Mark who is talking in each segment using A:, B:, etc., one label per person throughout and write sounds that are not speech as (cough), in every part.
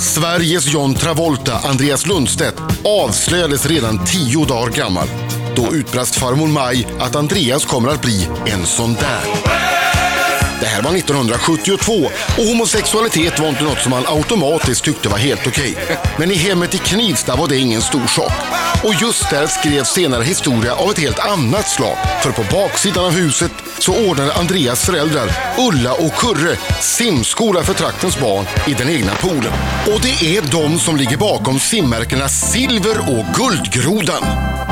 A: Sveriges John Travolta, Andreas Lundstedt, avslöjades redan tio dagar gammal. Då utbrast farmor Maj att Andreas kommer att bli en sån där. Det här var 1972 och homosexualitet var inte något som man automatiskt tyckte var helt okej. Men i hemmet i Knivsta var det ingen stor sak. Och just där skrevs senare historia av ett helt annat slag. För på baksidan av huset så ordnade Andreas föräldrar Ulla och Kurre simskola för traktens barn i den egna poolen. Och det är de som ligger bakom simmärkena Silver och Guldgrodan.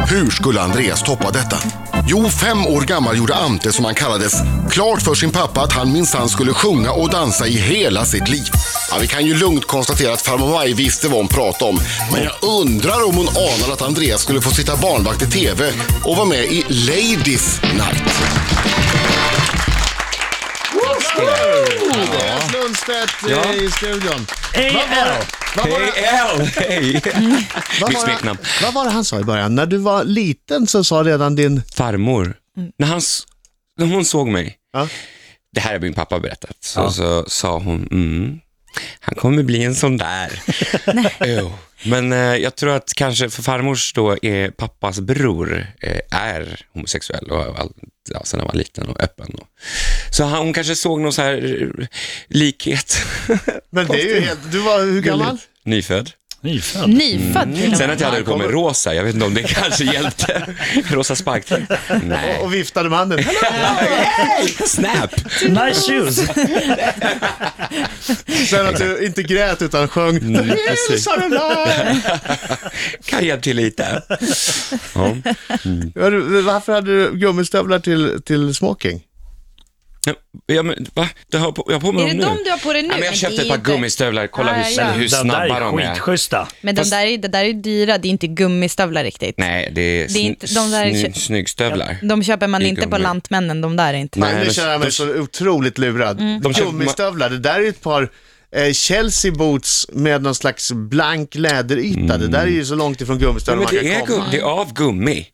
A: Hur skulle Andreas toppa detta? Jo, fem år gammal gjorde Ante, som han kallades, klart för sin pappa att han minsann skulle sjunga och dansa i hela sitt liv. Ja, vi kan ju lugnt konstatera att farmor Maj visste vad hon pratade om. Men jag undrar om hon anade att Andreas skulle få sitta barnvakt i TV och vara med i Ladies Night.
B: Andreas Lundstedt
C: Ja.
B: i studion. Vad var, det,
C: KL! Hej!
B: (laughs) vad,
C: Mitt
B: var det,
C: smeknamn.
B: vad var det han sa i början? När du var liten så sa redan din...
C: Farmor, när, han, s- när hon såg mig,
B: Mm. Ja.
C: det här har min pappa berättat, så, så sa hon, mm, han kommer bli en
B: (laughs)
C: sån där. Jo. Men eh, jag tror att kanske för farmors då är pappas bror eh, är homosexuell och har all, ja, sen han var liten och öppen. Och. Så han, hon kanske såg någon så här eh, likhet. (laughs)
B: Men det är ju helt... Du var hur gammal?
C: Nyfödd.
D: Nyfödd.
E: Nyfödd till och
C: Sen
E: med.
C: att jag hade på mig rosa, jag vet inte om det kanske
E: (laughs)
C: hjälpte. rosa sparktid. Nej.
B: Och viftade med handen.
C: Snap!
D: Nice shoes.
B: Sen att du inte grät utan sjöng.
C: Mm, precis.
B: Hälsa den (laughs) där!
C: Kan hjälpa till lite. Ja.
B: Ja, du, Varför hade du gummistövlar till, till smoking?
C: Ja, men, va? Det har jag på, jag har på mig
E: Är
C: dem
E: det
C: nu.
E: de du har på dig nu?
C: Ja, men
E: Men
C: jag
E: det
C: köpte
E: är
C: ett par
E: inte-
C: gummistövlar, kolla
E: Ah,
C: hur,
E: ja.
C: hur
D: Den där
C: snabba
D: är
C: de är.
D: skitschyssta.
E: Men de där, är- det där är ju dyra, det är inte gummistövlar riktigt.
C: Nej, det är,
E: Det är inte-
C: sn-
E: de där är
C: sny-
E: kö-
C: snyggstövlar.
E: De köper man
C: Det är
E: inte på
C: gummi.
E: Lantmännen, de där är inte.
C: Nej,
B: Nej, nu
C: men-
B: känner jag mig så otroligt lurad.
C: De köpte-
B: Gummistövlar, det där är ju ett par eh, Chelsea boots med någon slags blank läderyta. Det där är ju så långt ifrån
C: Ja,
B: gummistövlar
C: men
B: man
C: det,
B: kan
C: är
B: komma.
C: gummi, det är av gummi.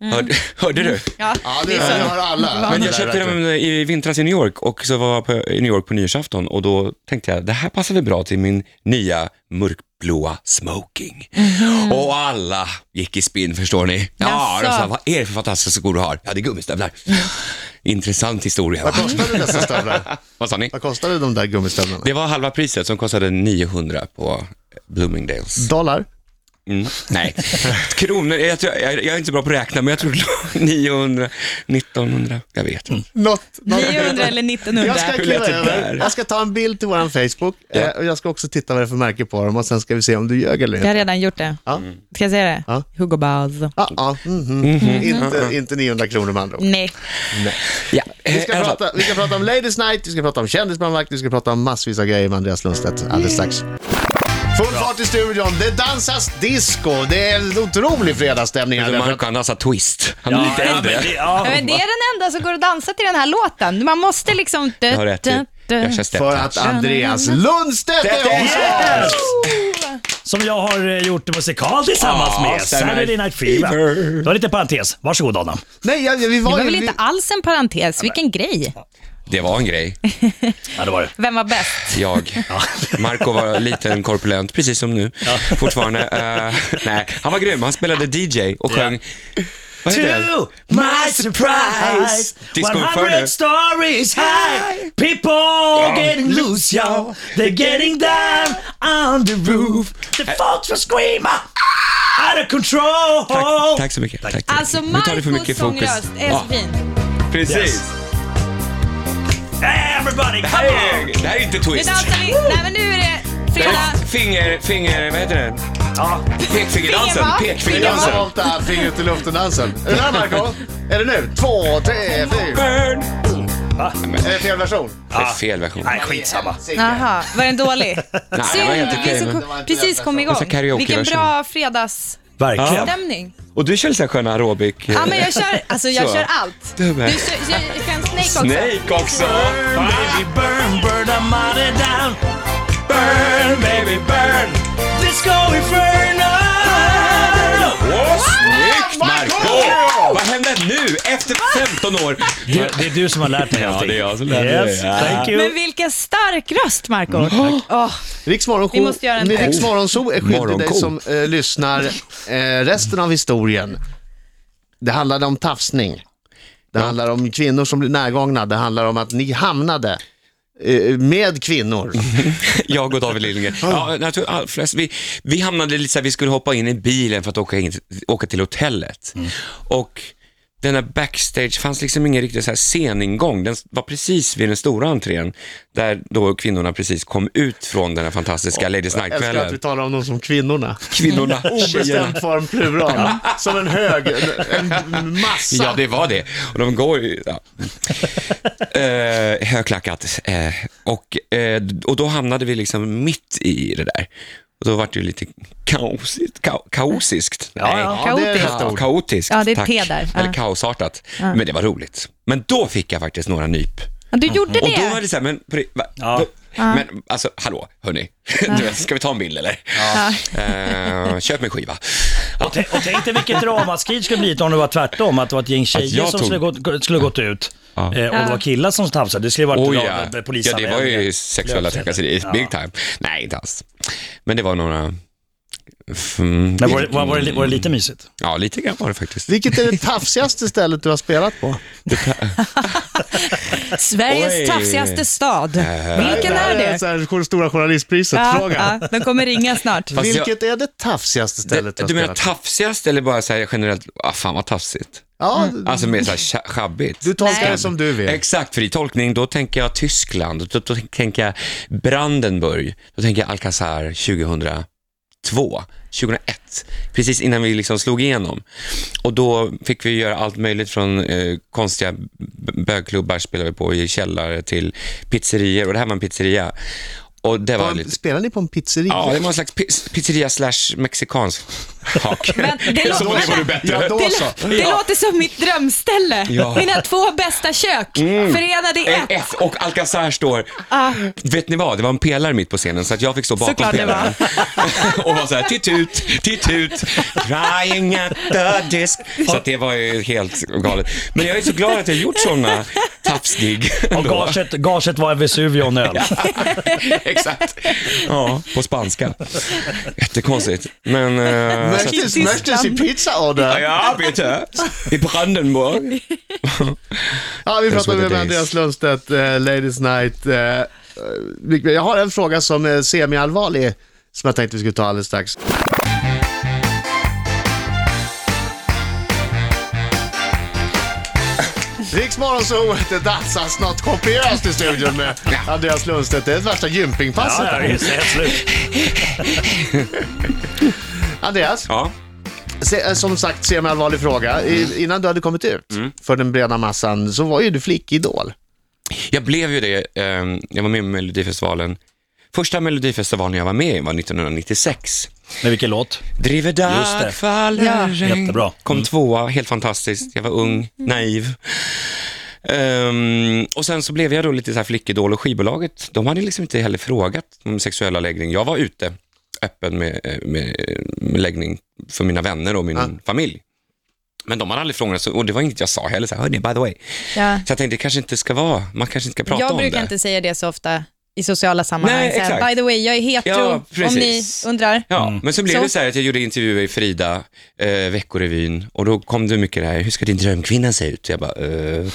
E: Mm.
C: Hörde, hörde du?
E: Ja,
B: Ja,
E: det
B: det,
E: är
B: det
E: så.
B: har alla.
C: Men
B: Det
C: jag
B: där
C: köpte
B: verkligen.
C: dem i vintras i New York och så var jag på, i New York på nyårsafton och då tänkte jag, det här passar väl bra till min nya mörkblåa smoking.
B: Mm.
C: Och alla gick i spinn, förstår ni. Ja, de
E: Jaså.
C: sa, vad är det för fantastiska skor du har? Ja, det
B: (laughs)
C: är gummistövlar. Intressant historia. Va?
B: Vad kostade dessa stövlar?
C: Vad sa ni?
B: Vad kostade de där gummistövlarna?
C: Det var halva priset som kostade 900 på Bloomingdales.
B: Dollar?
C: Mm. (laughs) Nej, kronor, jag, tror, jag, jag är inte så bra på att räkna, men jag tror (laughs) 900, 1900, jag vet
B: Mm.
C: inte.
B: Något. något.
E: 900 eller 1900.
B: Jag ska
C: Hur lät
B: kliva
C: det där?
B: över. Jag ska ta en bild till våran Facebook eh, och jag ska också titta vad det är för märke på dem och sen ska vi se om du ljög eller
E: Jag
B: inte.
E: har redan gjort det.
B: Ja.
C: Mm.
E: Ska jag säga det?
B: Ja.
E: Hugo Boss.
B: Ah, ah, mhm. Inte, inte 900 kronor med andra ord.
E: Nej.
C: Ja.
B: Vi ska,
C: eh, i alla fall.
B: prata, vi ska prata om Ladies Night, vi ska prata om kändisbarnvakt, vi ska prata om massvis av grejer med Andreas Lundstedt alldeles strax. Full fart i studion, det dansas disco, det är en otrolig fredagsstämning här. därför
C: Marco
B: att-
C: han dansar twist. Han är lite
D: ja,
C: äldre.
D: men det, ja.
E: Men det är den enda som går att dansa till den här låten. Man måste liksom...
C: Jag har rätt. i. Jag kör
B: För
C: step
B: att Andreas Lundstedt är hos oss!
D: Som jag har eh, gjort musikal tillsammans
C: Ja,
D: med
C: Saturday
D: Saturday Night Fever. Det var lite parentes. Varsågod Adam.
B: Nej, ja, vi
E: Det
B: var
E: var
B: ju...
E: väl
B: Vi,
E: inte alls en parentes, vilken grej.
C: Det var en grej.
D: Ja, det var det.
E: Vem var bäst?
D: (laughs)
C: Jag. Marco var liten, korpulent, precis som nu. Fortfarande. Eh, nej, han var grym. Han spelade DJ och sjöng... Vad heter den?
D: To my surprise,
C: Disco
D: 100
C: Inferno.
D: stories high. People getting loose, yo. They're getting down on the roof. The folks will scream out of control.
C: Tack, tack så mycket. Tack. tack.
E: Alltså
C: Nu tar du för
E: Marcos
C: mycket fokus.
E: sångröst är så
C: Ja,
E: fin.
C: precis.
D: Yes. Everybody,
C: Det, här
D: come on.
C: är, det här är inte
E: Nu
C: twist.
E: dansar vi. Nej men nu är det
C: Det
E: fredag.
C: här är Finger, finger, vad heter den?
D: Ja.
C: Pekfingerdansen.
E: Finger, va?
C: Pekfingerdansen.
B: Dansa, fingret i luften-dansen. Är det där, Marco? (laughs) Är det nu? Två, tre, fyra.
C: Burn.
B: Är det fel version?
C: Det är fel version.
D: Ah. Nej, skitsamma.
E: Jaha, var den dålig?
C: (laughs) Ah, det var
E: Synd,
C: helt okej,
E: vi så-
C: men-
B: Det var inte
E: precis
B: rätt
E: kom
C: Det var så
E: igång.
C: karaoke-
E: Vilken bra
C: version.
E: fredagsstämning.
D: Verkligen.
C: Och du kör lite så här eh, skön aerobik.
E: Ja men
C: (laughs)
E: jag kör, alltså jag
C: Så.
E: kör allt. Du
C: Du
E: kör,
C: med.
E: jag kör en Snake också.
C: Snake också.
D: Burn, baby, burn, burn the money down.
C: Burn baby burn.
D: Disco inferno.
C: Åh, snyggt Marco! Vad hände nu? efter 15 år. (laughs)
D: Det, det är du som har lärt mig
C: Ja,
D: allting.
C: det är jag som lärde mig.
D: yes,
C: Ja.
D: Thank you.
E: Men vilken stark röst, Marco Åh,
B: Riksmorgonzoo
E: Vi måste göra en-
B: Riksmorgonzoo är skyldig dig
C: Morgonko.
B: som eh, lyssnar eh, resten av historien. Det handlade om tafsning. Det handlar om kvinnor som blir närgångna. Det handlar om att ni hamnade eh, med
D: (laughs)
B: kvinnor.
C: Jag och David Lindgren. Ja, jag tror, all- flest, vi, vi hamnade lite så här, vi skulle hoppa in i bilen för att åka, in, åka till hotellet. Och den här backstage, fanns liksom ingen riktig så här sceningång. Den var precis vid den stora entrén, där då kvinnorna precis kom ut från den här fantastiska Ladies
B: Jag älskar att vi
C: Night-kvällen.
B: talar om dem som kvinnorna.
C: Kvinnorna, tjejerna.
B: Obestämd form plural. Som en hög, en
D: (laughs)
B: en massa.
C: Ja, det var det. Och de går ju...
E: (laughs)
C: Ja. eh, högklackat. Eh, och, eh, och då hamnade vi liksom mitt i det där. Och då var det ju lite kaosigt. Ka- kaosiskt. Nej.
D: ja.
B: Ja, det är
E: Kaotiskt.
B: rätt
C: Ja,
B: ord.
C: kaotiskt.
E: Ja, det är ett
C: tack.
E: T där. Ja.
C: Eller kaosartat. Men det var roligt. Men då fick jag faktiskt några nyp.
E: ja, du gjorde
C: Och då var
E: det.
C: det så här, men, på det, va,
D: Ja.
C: då, men alltså hallå, hörni. (laughs) Du vet, Ska vi ta en bild eller? Eh, köp mig skiva. Ja.
D: Och tänk- Och tänk dig vilket ramaskri det skulle blivit om det var tvärtom, att det var ett gäng
C: Att
D: tjejer
C: jag
D: som
C: tog-
D: skulle, gått, skulle gått ut eh, och det var killar som tafsade. Det skulle varit
C: Oh,
D: oh,
C: ja.
D: ja.
C: ja, det var ju sexuella
D: Löpsedel.
C: trakasserier.
D: Ja.
C: Big time. Nej, inte alls. Men det var några... Mm. f-
D: Men var, det- var, var, det, var det
C: Mm.
D: lite mysigt?
C: Ja, lite grann var det faktiskt.
B: Vilket är det tafsigaste stället du har spelat på?
E: Sveriges
C: Oj. Äh.
E: tafsigaste stad. Vilken är det?
B: Så här, stora journalistpriset,
E: Ja,
B: fråga.
E: ja, de kommer ringa snart.
C: Fast jag-
B: Vilket är det tafsigaste stället
C: Du menar
B: spelat på?
C: tafsigast eller bara så här generellt, ah, fan vad tafsigt?
B: Ja,
C: Alltså mer så här tja- sjabbigt.
B: du tolkar
E: Mm. Nej.
B: det som du vill.
C: Exakt, fri tolkning. Då tänker jag Tyskland, då, då tänker jag Brandenburg, då tänker jag Alcazar 2002, 2001, precis innan vi liksom slog igenom. Och då fick vi göra allt möjligt från eh, konstiga b- bögklubbar spelade vi på i källare till pizzerior och det här var en pizzeria. Och det var lite...
B: Spelar ni på en pizzeria?
C: Ja, det var en slags pi- pizzeria slash mexikansk (laughs) hak.
E: Men det
C: Jag såg
E: låter-
C: det vore bättre.
B: Ja, då
E: (laughs) Det,
B: så.
E: lå- det låter som mitt drömställe.
C: Ja. Mm.
E: Mina två bästa kök förenade i
C: En
E: ett.
C: F och Alcazar står... Vet ni vad? Det var en pelare mitt på scenen så att jag fick stå bakom
E: Ah. Såklart det
C: pelaren. och var så här, titt ut, titt ut, crying at the disk. Så att det var ju helt galet. Men jag är så glad att jag gjort sådana
E: (laughs)
C: tafsgig.
D: Och
C: ändå.
D: gaget, gaget var en Vesuvio och en öl.
C: Exakt. Ja, på spanska. Jättekonstigt. Men... eh, så att-
B: Möchtes, möchtes die Pizza oder?
C: Ja, bitte. I Brandenburg.
B: Ja, vi pratar
C: what
B: med
C: it is.
B: Andreas Lundstedt, eh, Ladies Night. eh, eh, jag har en fråga som är semi-allvarlig, som jag tänkte vi skulle ta alldeles strax. Riksmorgon så det dansas något kopiöst i studion
C: (laughs)
B: med Andreas Lundstedt. Det är värsta gympingpasset.
D: Ja, det är helt slut.
B: Andreas,
C: Ja.
B: se, eh, som sagt, se mig allvarlig fråga.
C: Mm.
B: I, innan du hade kommit ut för den breda massan så var ju du flickidol.
C: Jag blev ju det. ehm, Jag var med i Melodifestivalen. Första Melodifestivalen jag var med i var 1996.
D: Men vilken låt?
C: Driver
D: Just det.
C: dag, faller regn.
D: Jättebra. Mm.
C: Kom tvåa, helt fantastiskt. Jag var
E: Mm.
C: ung, naiv. Ehm, och sen så blev jag då lite så här flickidol och skivbolaget, de hade liksom inte heller frågat om sexuella läggning. Jag var ute, öppen med, eh, med, med läggning för mina vänner och min familj. Men de hade aldrig frågat, så- och det var inget jag sa heller, så här, hörni, by the way.
E: Ja.
C: Så jag tänkte, det kanske inte ska vara, man kanske inte ska prata
E: Jag
C: om det.
E: brukar inte säga det så ofta i sociala sammanhang.
C: Nej,
E: så här,
C: exakt.
E: By the way, jag är hetero,
C: Ja,
E: om ni
C: precis. (laughs)
E: undrar.
C: Ja,
B: Mm.
C: men så blev
E: Så.
C: det så här att jag gjorde intervjuer i Frida, eh, Veckorevyn, och då kom det mycket det här, hur ska din drömkvinna se ut? Jag bara, eh,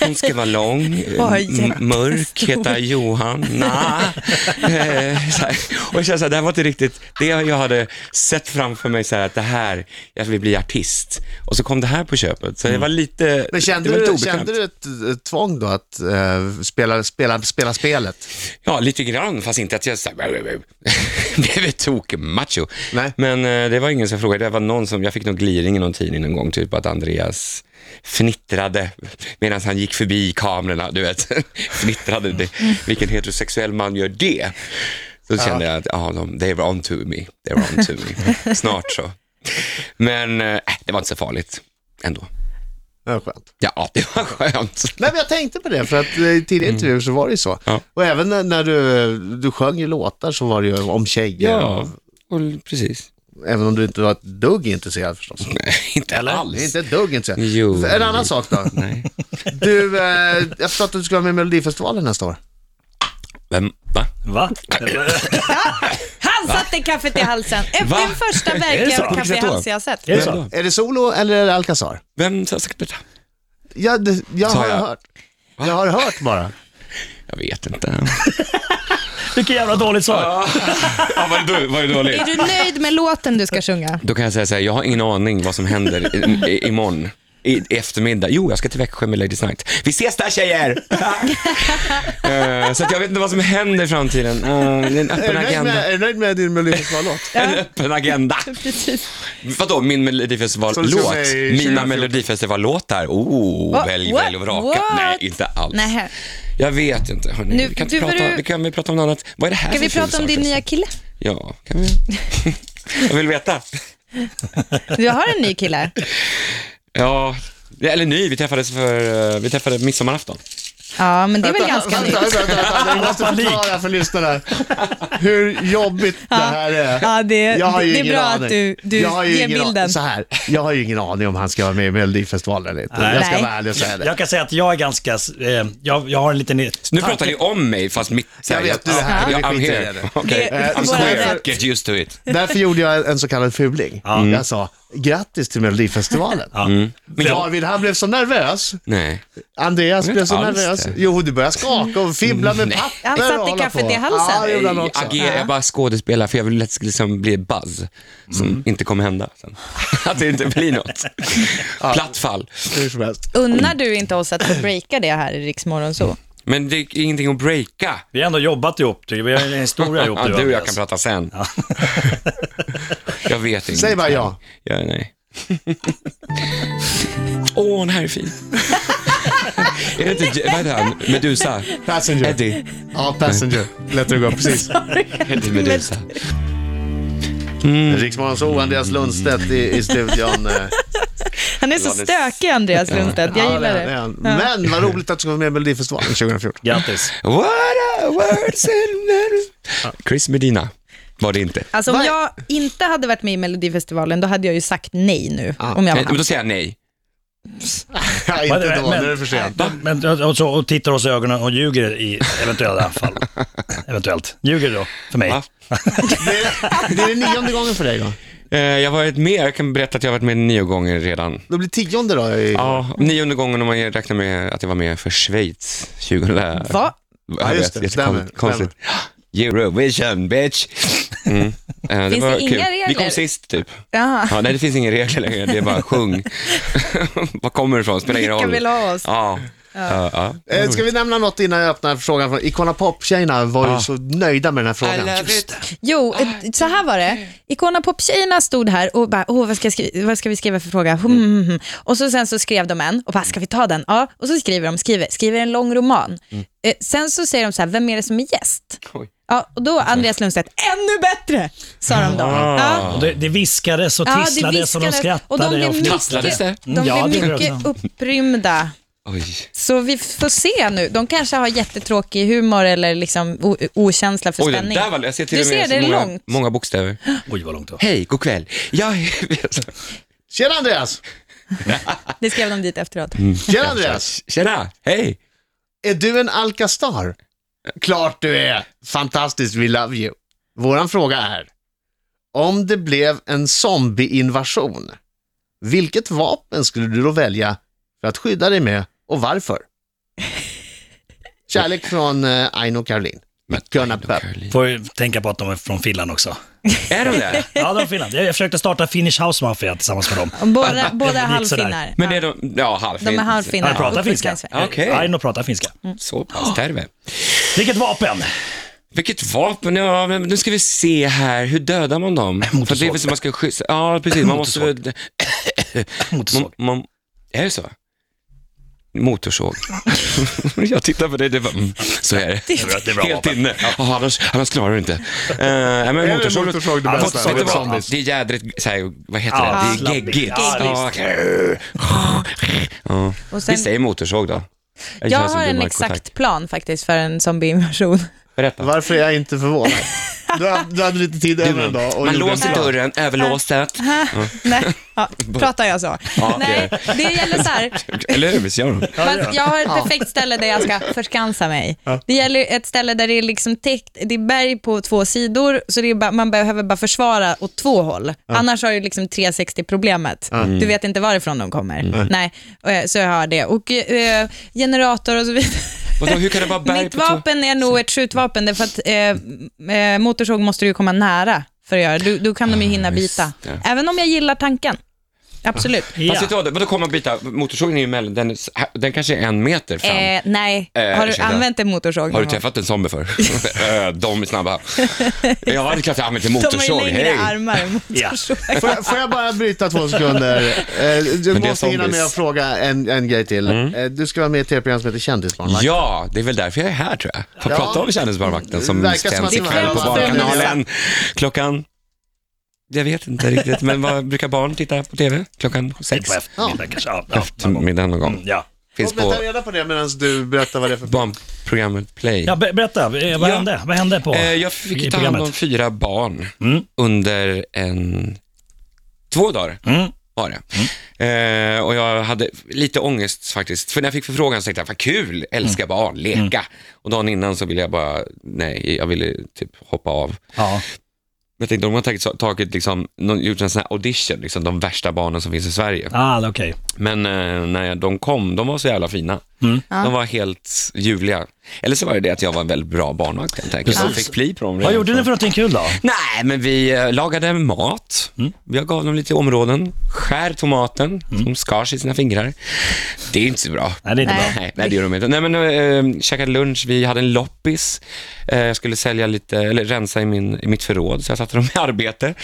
C: hon ska vara lång, eh,
E: Oj,
C: m- mörk, heta Johanna. Eh, så här. och jag kände så här, det här var inte riktigt det jag hade sett framför mig, så här, att det här, jag vill bli artist. Och så kom det här på köpet, så det var lite,
B: Mm. Men kände,
C: det var lite
B: du,
C: obekvämt.
B: kände du ett eh, tvång då att eh, spela, spela, spela spelet?
C: Ja, lite grann, fast inte att jag så (laughs) här, blev ett tokmacho.
B: Nej.
C: Men eh, det var ingen som frågade. Det var någon som, jag fick någon gliring i någon tidning någon gång, typ att Andreas fnittrade medan han gick förbi kamerorna, du vet. (laughs) fnittrade, det, vilken heterosexuell man gör det? Så kände jag att, ja, de, they were on to me, they were on to
B: (laughs)
C: me, snart så. Men eh, det var inte så farligt ändå.
B: Det var skönt.
C: Ja, det var skönt.
B: Nej, men jag tänkte på det, för att eh, i tidiga intervjuer så var det ju så.
C: Mm. Ja.
B: Och även när- när du, du sjöng ju låtar så var det ju om tjejer.
C: Ja, och, precis.
B: Även om du inte var ett dugg intresserad förstås.
C: Inte alls.
B: Inte ett dugg intresserad.
C: Jo.
B: En annan sak då.
C: Nej.
B: Du, eh, jag förstår att du ska vara med i Melodifestivalen nästa år.
C: Vem? Va?
D: Va?
E: Han satte kaffet i halsen. Efter
C: Va?
E: den första
D: så?
E: verkliga
D: På
E: kaffe i
C: vilket sätt då?
E: halsen jag har sett.
D: Är det
C: Vem
D: så?
C: då?
B: Är det solo eller är det Alcazar?
C: Vem har sagt detta?
B: Ja, det, jag
C: Sa
B: har
C: jag?
B: hört. Jag har hört bara.
C: Jag vet inte.
D: Vilket jävla dåligt svar.
C: ja, vad, är vad är dåligt?
E: Är du nöjd med låten du ska sjunga?
C: Då kan jag säga så här, jag har ingen aning vad som händer i, i, imorgon. I, i eftermiddag. Jo, jag ska till Växjö med Ladies Night. Vi ses där
E: (laughs)
C: tjejer! Eh, så att jag vet inte vad som händer i framtiden. Eh, det är
B: Är
C: en
B: du nöjd
C: öppen
B: med,
C: agenda.
B: är du nöjd med din Melodifestivallåt?
C: En öppen agenda.
E: Precis.
C: Vadå, min
B: Så du ska
C: Melodifestivallåt?
B: med i
C: Mina
B: 2014?
C: Melodifestivallåtar? Oh,
E: What?
C: välj,
E: What?
C: välj och vraka.
E: What?
C: Nej, inte alls.
E: Nähä.
C: Jag vet inte, hörni.
E: Nu-
C: vi kan inte
E: du får
C: prata,
E: du-
C: vi kan väl prata om något annat. Vad är det här
E: Ska
C: för
E: vi
C: ful
E: prata om
C: sak
E: din
C: förresten?
E: nya kille?
C: Ja, kan vi.
B: (laughs)
C: jag vill veta.
E: Du har en ny kille.
C: Ja, eller ny, vi träffades för, eh, vi träffades midsommarafton.
E: Ja, men det är väl ganska nytt.
B: vänta, vänta, vänta, vänta, Jag måste förklara för lyssnarna hur jobbigt det här är.
E: Ja, det,
B: Jag har ju
E: det är
B: ingen
E: bra
B: aning.
E: att du, du
B: jag har ju
E: ger
B: ingen a-
E: bilden.
B: Så här, jag har ju ingen aning om han ska vara med i Melodifestivalen eller inte.
D: Nej.
B: Jag ska
E: Nej.
B: vara ärlig och säga det.
D: Jag kan säga att jag är ganska, eh, jag, jag har en liten...
C: Nu pratar ni om mig, fast mitt...
B: Ah, Jag vet, du är här,
C: Jag,
B: vi
C: I'm
B: skiter i
C: here.
B: det.
C: Okay.
E: Det-
C: I'm
E: våra
C: queer,
E: rätt.
C: get used to it.
B: Därför gjorde jag en så kallad fuling. Jag sa grattis till Melodifestivalen. Men David han blev så nervös.
C: Nej.
B: Andreas
C: Jag
B: blev
C: vet
B: så
C: inte alls
B: nervös.
C: det.
B: Jo, du började skaka och fibbla med papper
E: Han satte
B: och hålla
E: kaffet
B: på.
E: i halsen.
B: Ja, det gjorde han också.
C: Agera, jag bara skådespelar för jag vill att det ska liksom bli buzz som
B: Mm.
C: inte kommer hända sen. (laughs) Att det inte blir något. Platt fall.
B: Hur som helst.
E: Unnar du inte oss att få breaka det här i Riksmorgon så?
C: Men det är ingenting att breaka.
D: Vi har ändå jobbat ihop, tycker jag. vi har en historia ihop
C: Ja, du och jag kan
D: Andreas.
C: prata sen. (laughs) jag vet inte.
B: Säg bara ja.
C: Ja, nej. Åh, den här är fin. är det inte, vad heter han, Medusa?
B: Passenger.
C: Eddie.
B: Ja, Passenger. Lät det gå, precis.
C: Eddie Medusa.
B: Riksmorgon så Andreas Lundstedt i, i (laughs) studion. eh.
E: Han är så stökig, Andreas Lundstedt. Jag
B: Ja,
E: gillar
B: det är
E: det.
B: han. Men vad roligt att du ska vara med i Melodifestivalen 2014.
D: Grattis.
C: What a words and... Chris Medina var det inte.
E: Alltså om
B: Vad-
E: jag inte hade varit med i Melodifestivalen, då hade jag ju sagt nej nu. Om jag var
C: Nej, men
E: han.
C: då säger jag nej.
B: (laughs) Ja, inte
D: Men-
B: då, nu
D: men-
B: är det för sent.
D: Men, och, så, och tittar oss i ögonen och ljuger i eventuella fall. Eventuellt. Ljuger du då för mig?
C: Va?
B: Det är, det är den nionde gången för dig då.
C: Eh, Jag har varit med, jag kan berätta att jag har varit med nio gånger redan.
B: Då blir tionde då. I...
C: Ja, nionde gången om man räknar med att jag var med för Schweiz 2000.
E: Va?
C: Jag
B: Ja,
C: vet,
B: just det.
C: jättekonstigt.
B: Stämmer,
C: Konstigt. Eurovision bitch! Mm. Eh, det
E: Finns
C: var
E: det inga
C: kul. Vi
E: regler?
C: kom sist typ.
E: Jaha.
C: Ja, nej, det finns inga regler längre. Det är bara sjung.
E: (laughs)
C: Var kommer du ifrån? Spelar ingen roll.
E: Vilka vill ha oss?
C: Ja. Ja. Ja.
B: Eh, Ska vi nämna något innan jag öppnar frågan? från- Icona Pop-tjejerna var ju så nöjda med den här frågan.
E: Jo, ett- så här var det. Icona Pop-tjejerna stod här och bara, Åh, vad, ska jag skri- vad ska vi skriva för fråga? Hmm,
C: Mm.
E: hmm, hmm. Och så sen så skrev de en och bara, ska vi ta den? Ja, och så skriver de, skriver, skriver en lång roman. Eh, sen så säger de så här, vem är det som är gäst?
C: Mm. Oj. Alltså.
E: Ja, och då Andreas Lundstedt, ännu bättre, sa de då.
C: Ah.
E: Ja.
D: Och det, det viskades och
E: Ja, det
D: tisslades och de
E: viskades. Och
D: skrattade.
E: de blev mycket,
C: Tasslades det?
E: de
D: Ja, det
E: blev
D: gjorde
E: mycket
D: de.
E: upprymda.
C: Oj.
E: Så vi får se nu. De kanske har jättetråkig humor eller liksom o- okänsla för
C: Oj, den
E: spänning.
C: där var Jag ser till
E: du
C: och med
E: ser, det är
C: så många,
E: långt.
C: många bokstäver.
D: Oj, vad långt det var.
C: Hej, god kväll. Jag
B: Tjena Andreas!
E: Det skrev de dit efteråt.
C: Mm.
B: Tjena Andreas!
C: (laughs) Tjena, hej.
B: Är du en Alcastar? Klart du är! Fantastiskt, we love you. Våran fråga är, om det blev en zombieinvasion, vilket vapen skulle du då välja för att skydda dig med och varför? Kärlek från eh, Aino Caroline. Gunnar Pepp.
D: Får ju tänka på att de är från Finland också.
C: Är de
E: (laughs)
C: det?
D: Ja, de är från Finland. Jag försökte starta Finnish House Mafia tillsammans med dem.
E: Båda, båda
D: sådär.
E: halvfinnar.
C: Men
E: Ja.
C: är de, ja, halvfint.
E: De är halvfinnar.
D: Han pratar
E: Uppvuxna i
D: finska.
E: Sverige.
C: Okej.
D: Aino pratar finska.
C: Så pass, terve.
D: Vilket vapen!
C: Vilket vapen, ja, men nu ska vi se här, hur dödar man dem?
B: Äh,
C: För det är väl så man ska skydda, ja precis, man måste väl...
B: Äh,
D: Motorsåg.
C: Man, man, är det så? Motorsåg. (laughs) jag tittar på dig, det var, mm, så är det.
D: Det är bra
C: Helt
D: vapen.
C: inne. Ja, annars, annars klarar du inte. Uh, men
B: det
C: motorsåg,
B: motorsåg det
C: Ja,
B: bästa?
C: motorsåg, vet du vad?
B: Zombies.
C: det är jädrigt, så här, vad heter
D: Ja,
C: det, det är
D: slabbigt.
C: geggigt.
D: Ja,
C: Ja, okej. Ja.
E: Och sen-
C: Vi säger motorsåg då. Jag,
E: Jag
C: känner som
E: har en
C: Marco
E: exakt
C: Tack.
E: plan faktiskt för en zombieinvasion.
C: Berätta.
B: Varför är jag inte förvånad? Du hade, du hade lite tid över en dag. och
C: Man
B: gjorde
C: låser
B: en plan.
C: dörren, överlåset.
E: (laughs) Nej, ja, pratar jag så?
C: Ja, det
E: Nej,
C: gör
E: det gäller så här.
C: Eller hur? Visst gör de?
E: Man, jag har ett perfekt ställe där jag ska förskansa mig. Det gäller ju ett ställe där det är liksom täckt, det är berg på två sidor, så det är bara, man behöver bara försvara åt två håll. Annars har du liksom 360-problemet.
C: Mm.
E: Du vet inte varifrån de kommer. Nej, eh, så jag har det. Och eh, generator och så vidare.
C: Vadå, hur kan det vara berg
E: Mitt
C: på två-
E: vapen är nog ett skjutvapen, därför att eh, eh, motorsåg måste du ju komma nära för att göra. Du, då kan de ju hinna
C: just
E: bita.
C: det.
E: Även om jag gillar tanken. Absolut.
C: Fast vet du vad, vadå kommer man byta? Motorsågen är ju mellan, den, är- den kanske är en meter fram.
E: Eh, nej,
C: Eh,
E: har du
C: ursäkta.
E: använt en motorsåg
C: Har
E: någon
C: du
E: gång?
C: träffat en
E: (laughs)
C: zombie förr? Eh, De är snabba. Jag hade kanske använt en motorsåg,
E: De har ju längre
C: hej.
E: armar än
D: Ja.
E: motorsåg.
B: Får jag, får jag bara bryta två sekunder? Eh, Du
C: Men det är
B: måste hinna med
C: zombies.
B: att fråga en, en grej till. Eh, Du ska vara med i ett tv-program som heter Kändisbarnvakt.
C: Ja, det är väl därför jag är här tror jag. För att
B: Ja.
C: prata om kändisbarnvakten som
B: Verkar som att
C: sänds
B: det
C: ikväll på
E: var en
C: Barnkanalen. Klockan... Jag vet inte riktigt, men vad brukar barn titta på TV? Klockan sex?
D: På eftermiddag kanske. Ja, ja, någon gång.
C: Eftermiddagen någon
D: Mm,
C: gång.
D: Ja.
C: Finns
B: Och
C: på
B: vänta reda på det medan du berättar vad det är (laughs) för...
C: barnprogrammet Play.
D: ja, be- berätta. eh, Vad
C: Ja.
D: hände? Vad hände på
C: Eh, Jag
D: i
C: fick ta hand om
D: programmet?
C: fyra barn
D: Mm.
C: under en... Två dagar.
D: Mm.
C: var det. Eh, och jag hade lite ångest faktiskt, för när jag fick förfrågan så tänkte jag, vad kul, älska
D: Mm.
C: barn, leka. Och dagen innan så ville jag bara, nej, jag ville typ hoppa av. Men
D: Ja.
C: jag tänkte, de har tagit, tagit liksom, någon, gjort en sån här audition, liksom, de värsta barnen som finns i Sverige.
D: Ah, det är okej.
C: Men eh, när jag, de kom, de var så jävla fina.
D: Mm.
C: De var helt ljuvliga. Eller så var det det att jag var en väldigt bra barnvakt helt enkelt.
D: Precis.
C: Jag fick pli på dem
D: Vad
C: redan
D: gjorde ni
C: från-
D: för någonting kul då?
C: Nej, men vi eh, lagade mat. Jag gav dem lite områden. Skär tomaten, som skars i sina fingrar. Det är inte så bra.
D: Nej, det är inte
E: Nej.
D: bra.
C: Nej, nej det gör de inte. Nej, men äh, käkade lunch, vi hade en loppis. Eh, jag skulle sälja lite, eller rensa i, min, i mitt förråd, så jag satte dem i arbete.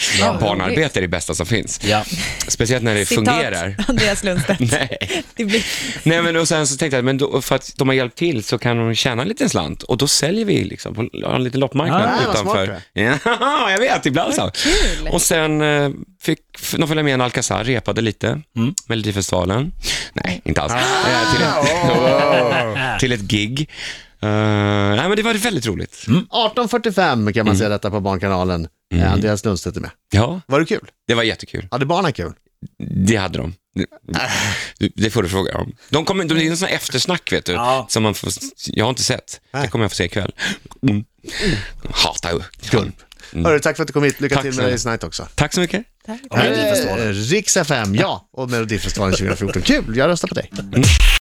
C: Barnarbete är det bästa som finns.
D: Ja.
C: Speciellt när det fungerar.
E: Citat Andreas
C: (laughs)
E: Lundstedt.
C: Nej.
E: (laughs) Det blir...
C: Nej, men och sen så tänkte jag, men då, för att de har hjälpt till så kan de tjäna en liten slant och då säljer vi liksom på har en liten loppmarknad
D: Ah,
B: vad
C: utanför.
B: smart
C: Ja, (laughs) jag vet, ibland så.
E: kul.
C: Och sen eh, fick f- de följa med en Alcazar, repade lite,
B: Mm.
C: Melodifestivalen. Nej, inte alls.
B: Ah,
C: Eh, till, ett, (laughs) till ett gig. Eh, nej, men det var väldigt roligt.
B: Mm. 18.45 kan man se detta på Barnkanalen. Eh, Andreas Lundstedt är med.
C: Ja,
B: Mm. Var det kul?
C: det var jättekul.
B: Hade barnen kul?
C: Det hade de. Det- Det får du fråga dem. De kommer, de, det är en sån här eftersnack, vet du,
D: Ja.
C: som man får, jag har inte sett. Det kommer jag få se ikväll. Mm. Hatar ju.
B: Gulp. Hörru, Mm. tack för att du kom hit. Lycka
C: Tack
B: till med
C: snälla.
B: Ladies Night också.
C: Tack så mycket.
D: Och
B: (laughs)
D: Melodifestivalen.
B: Eh, Riks FM, ja. Och Melodifestivalen 2014. Kul, jag röstar på dig.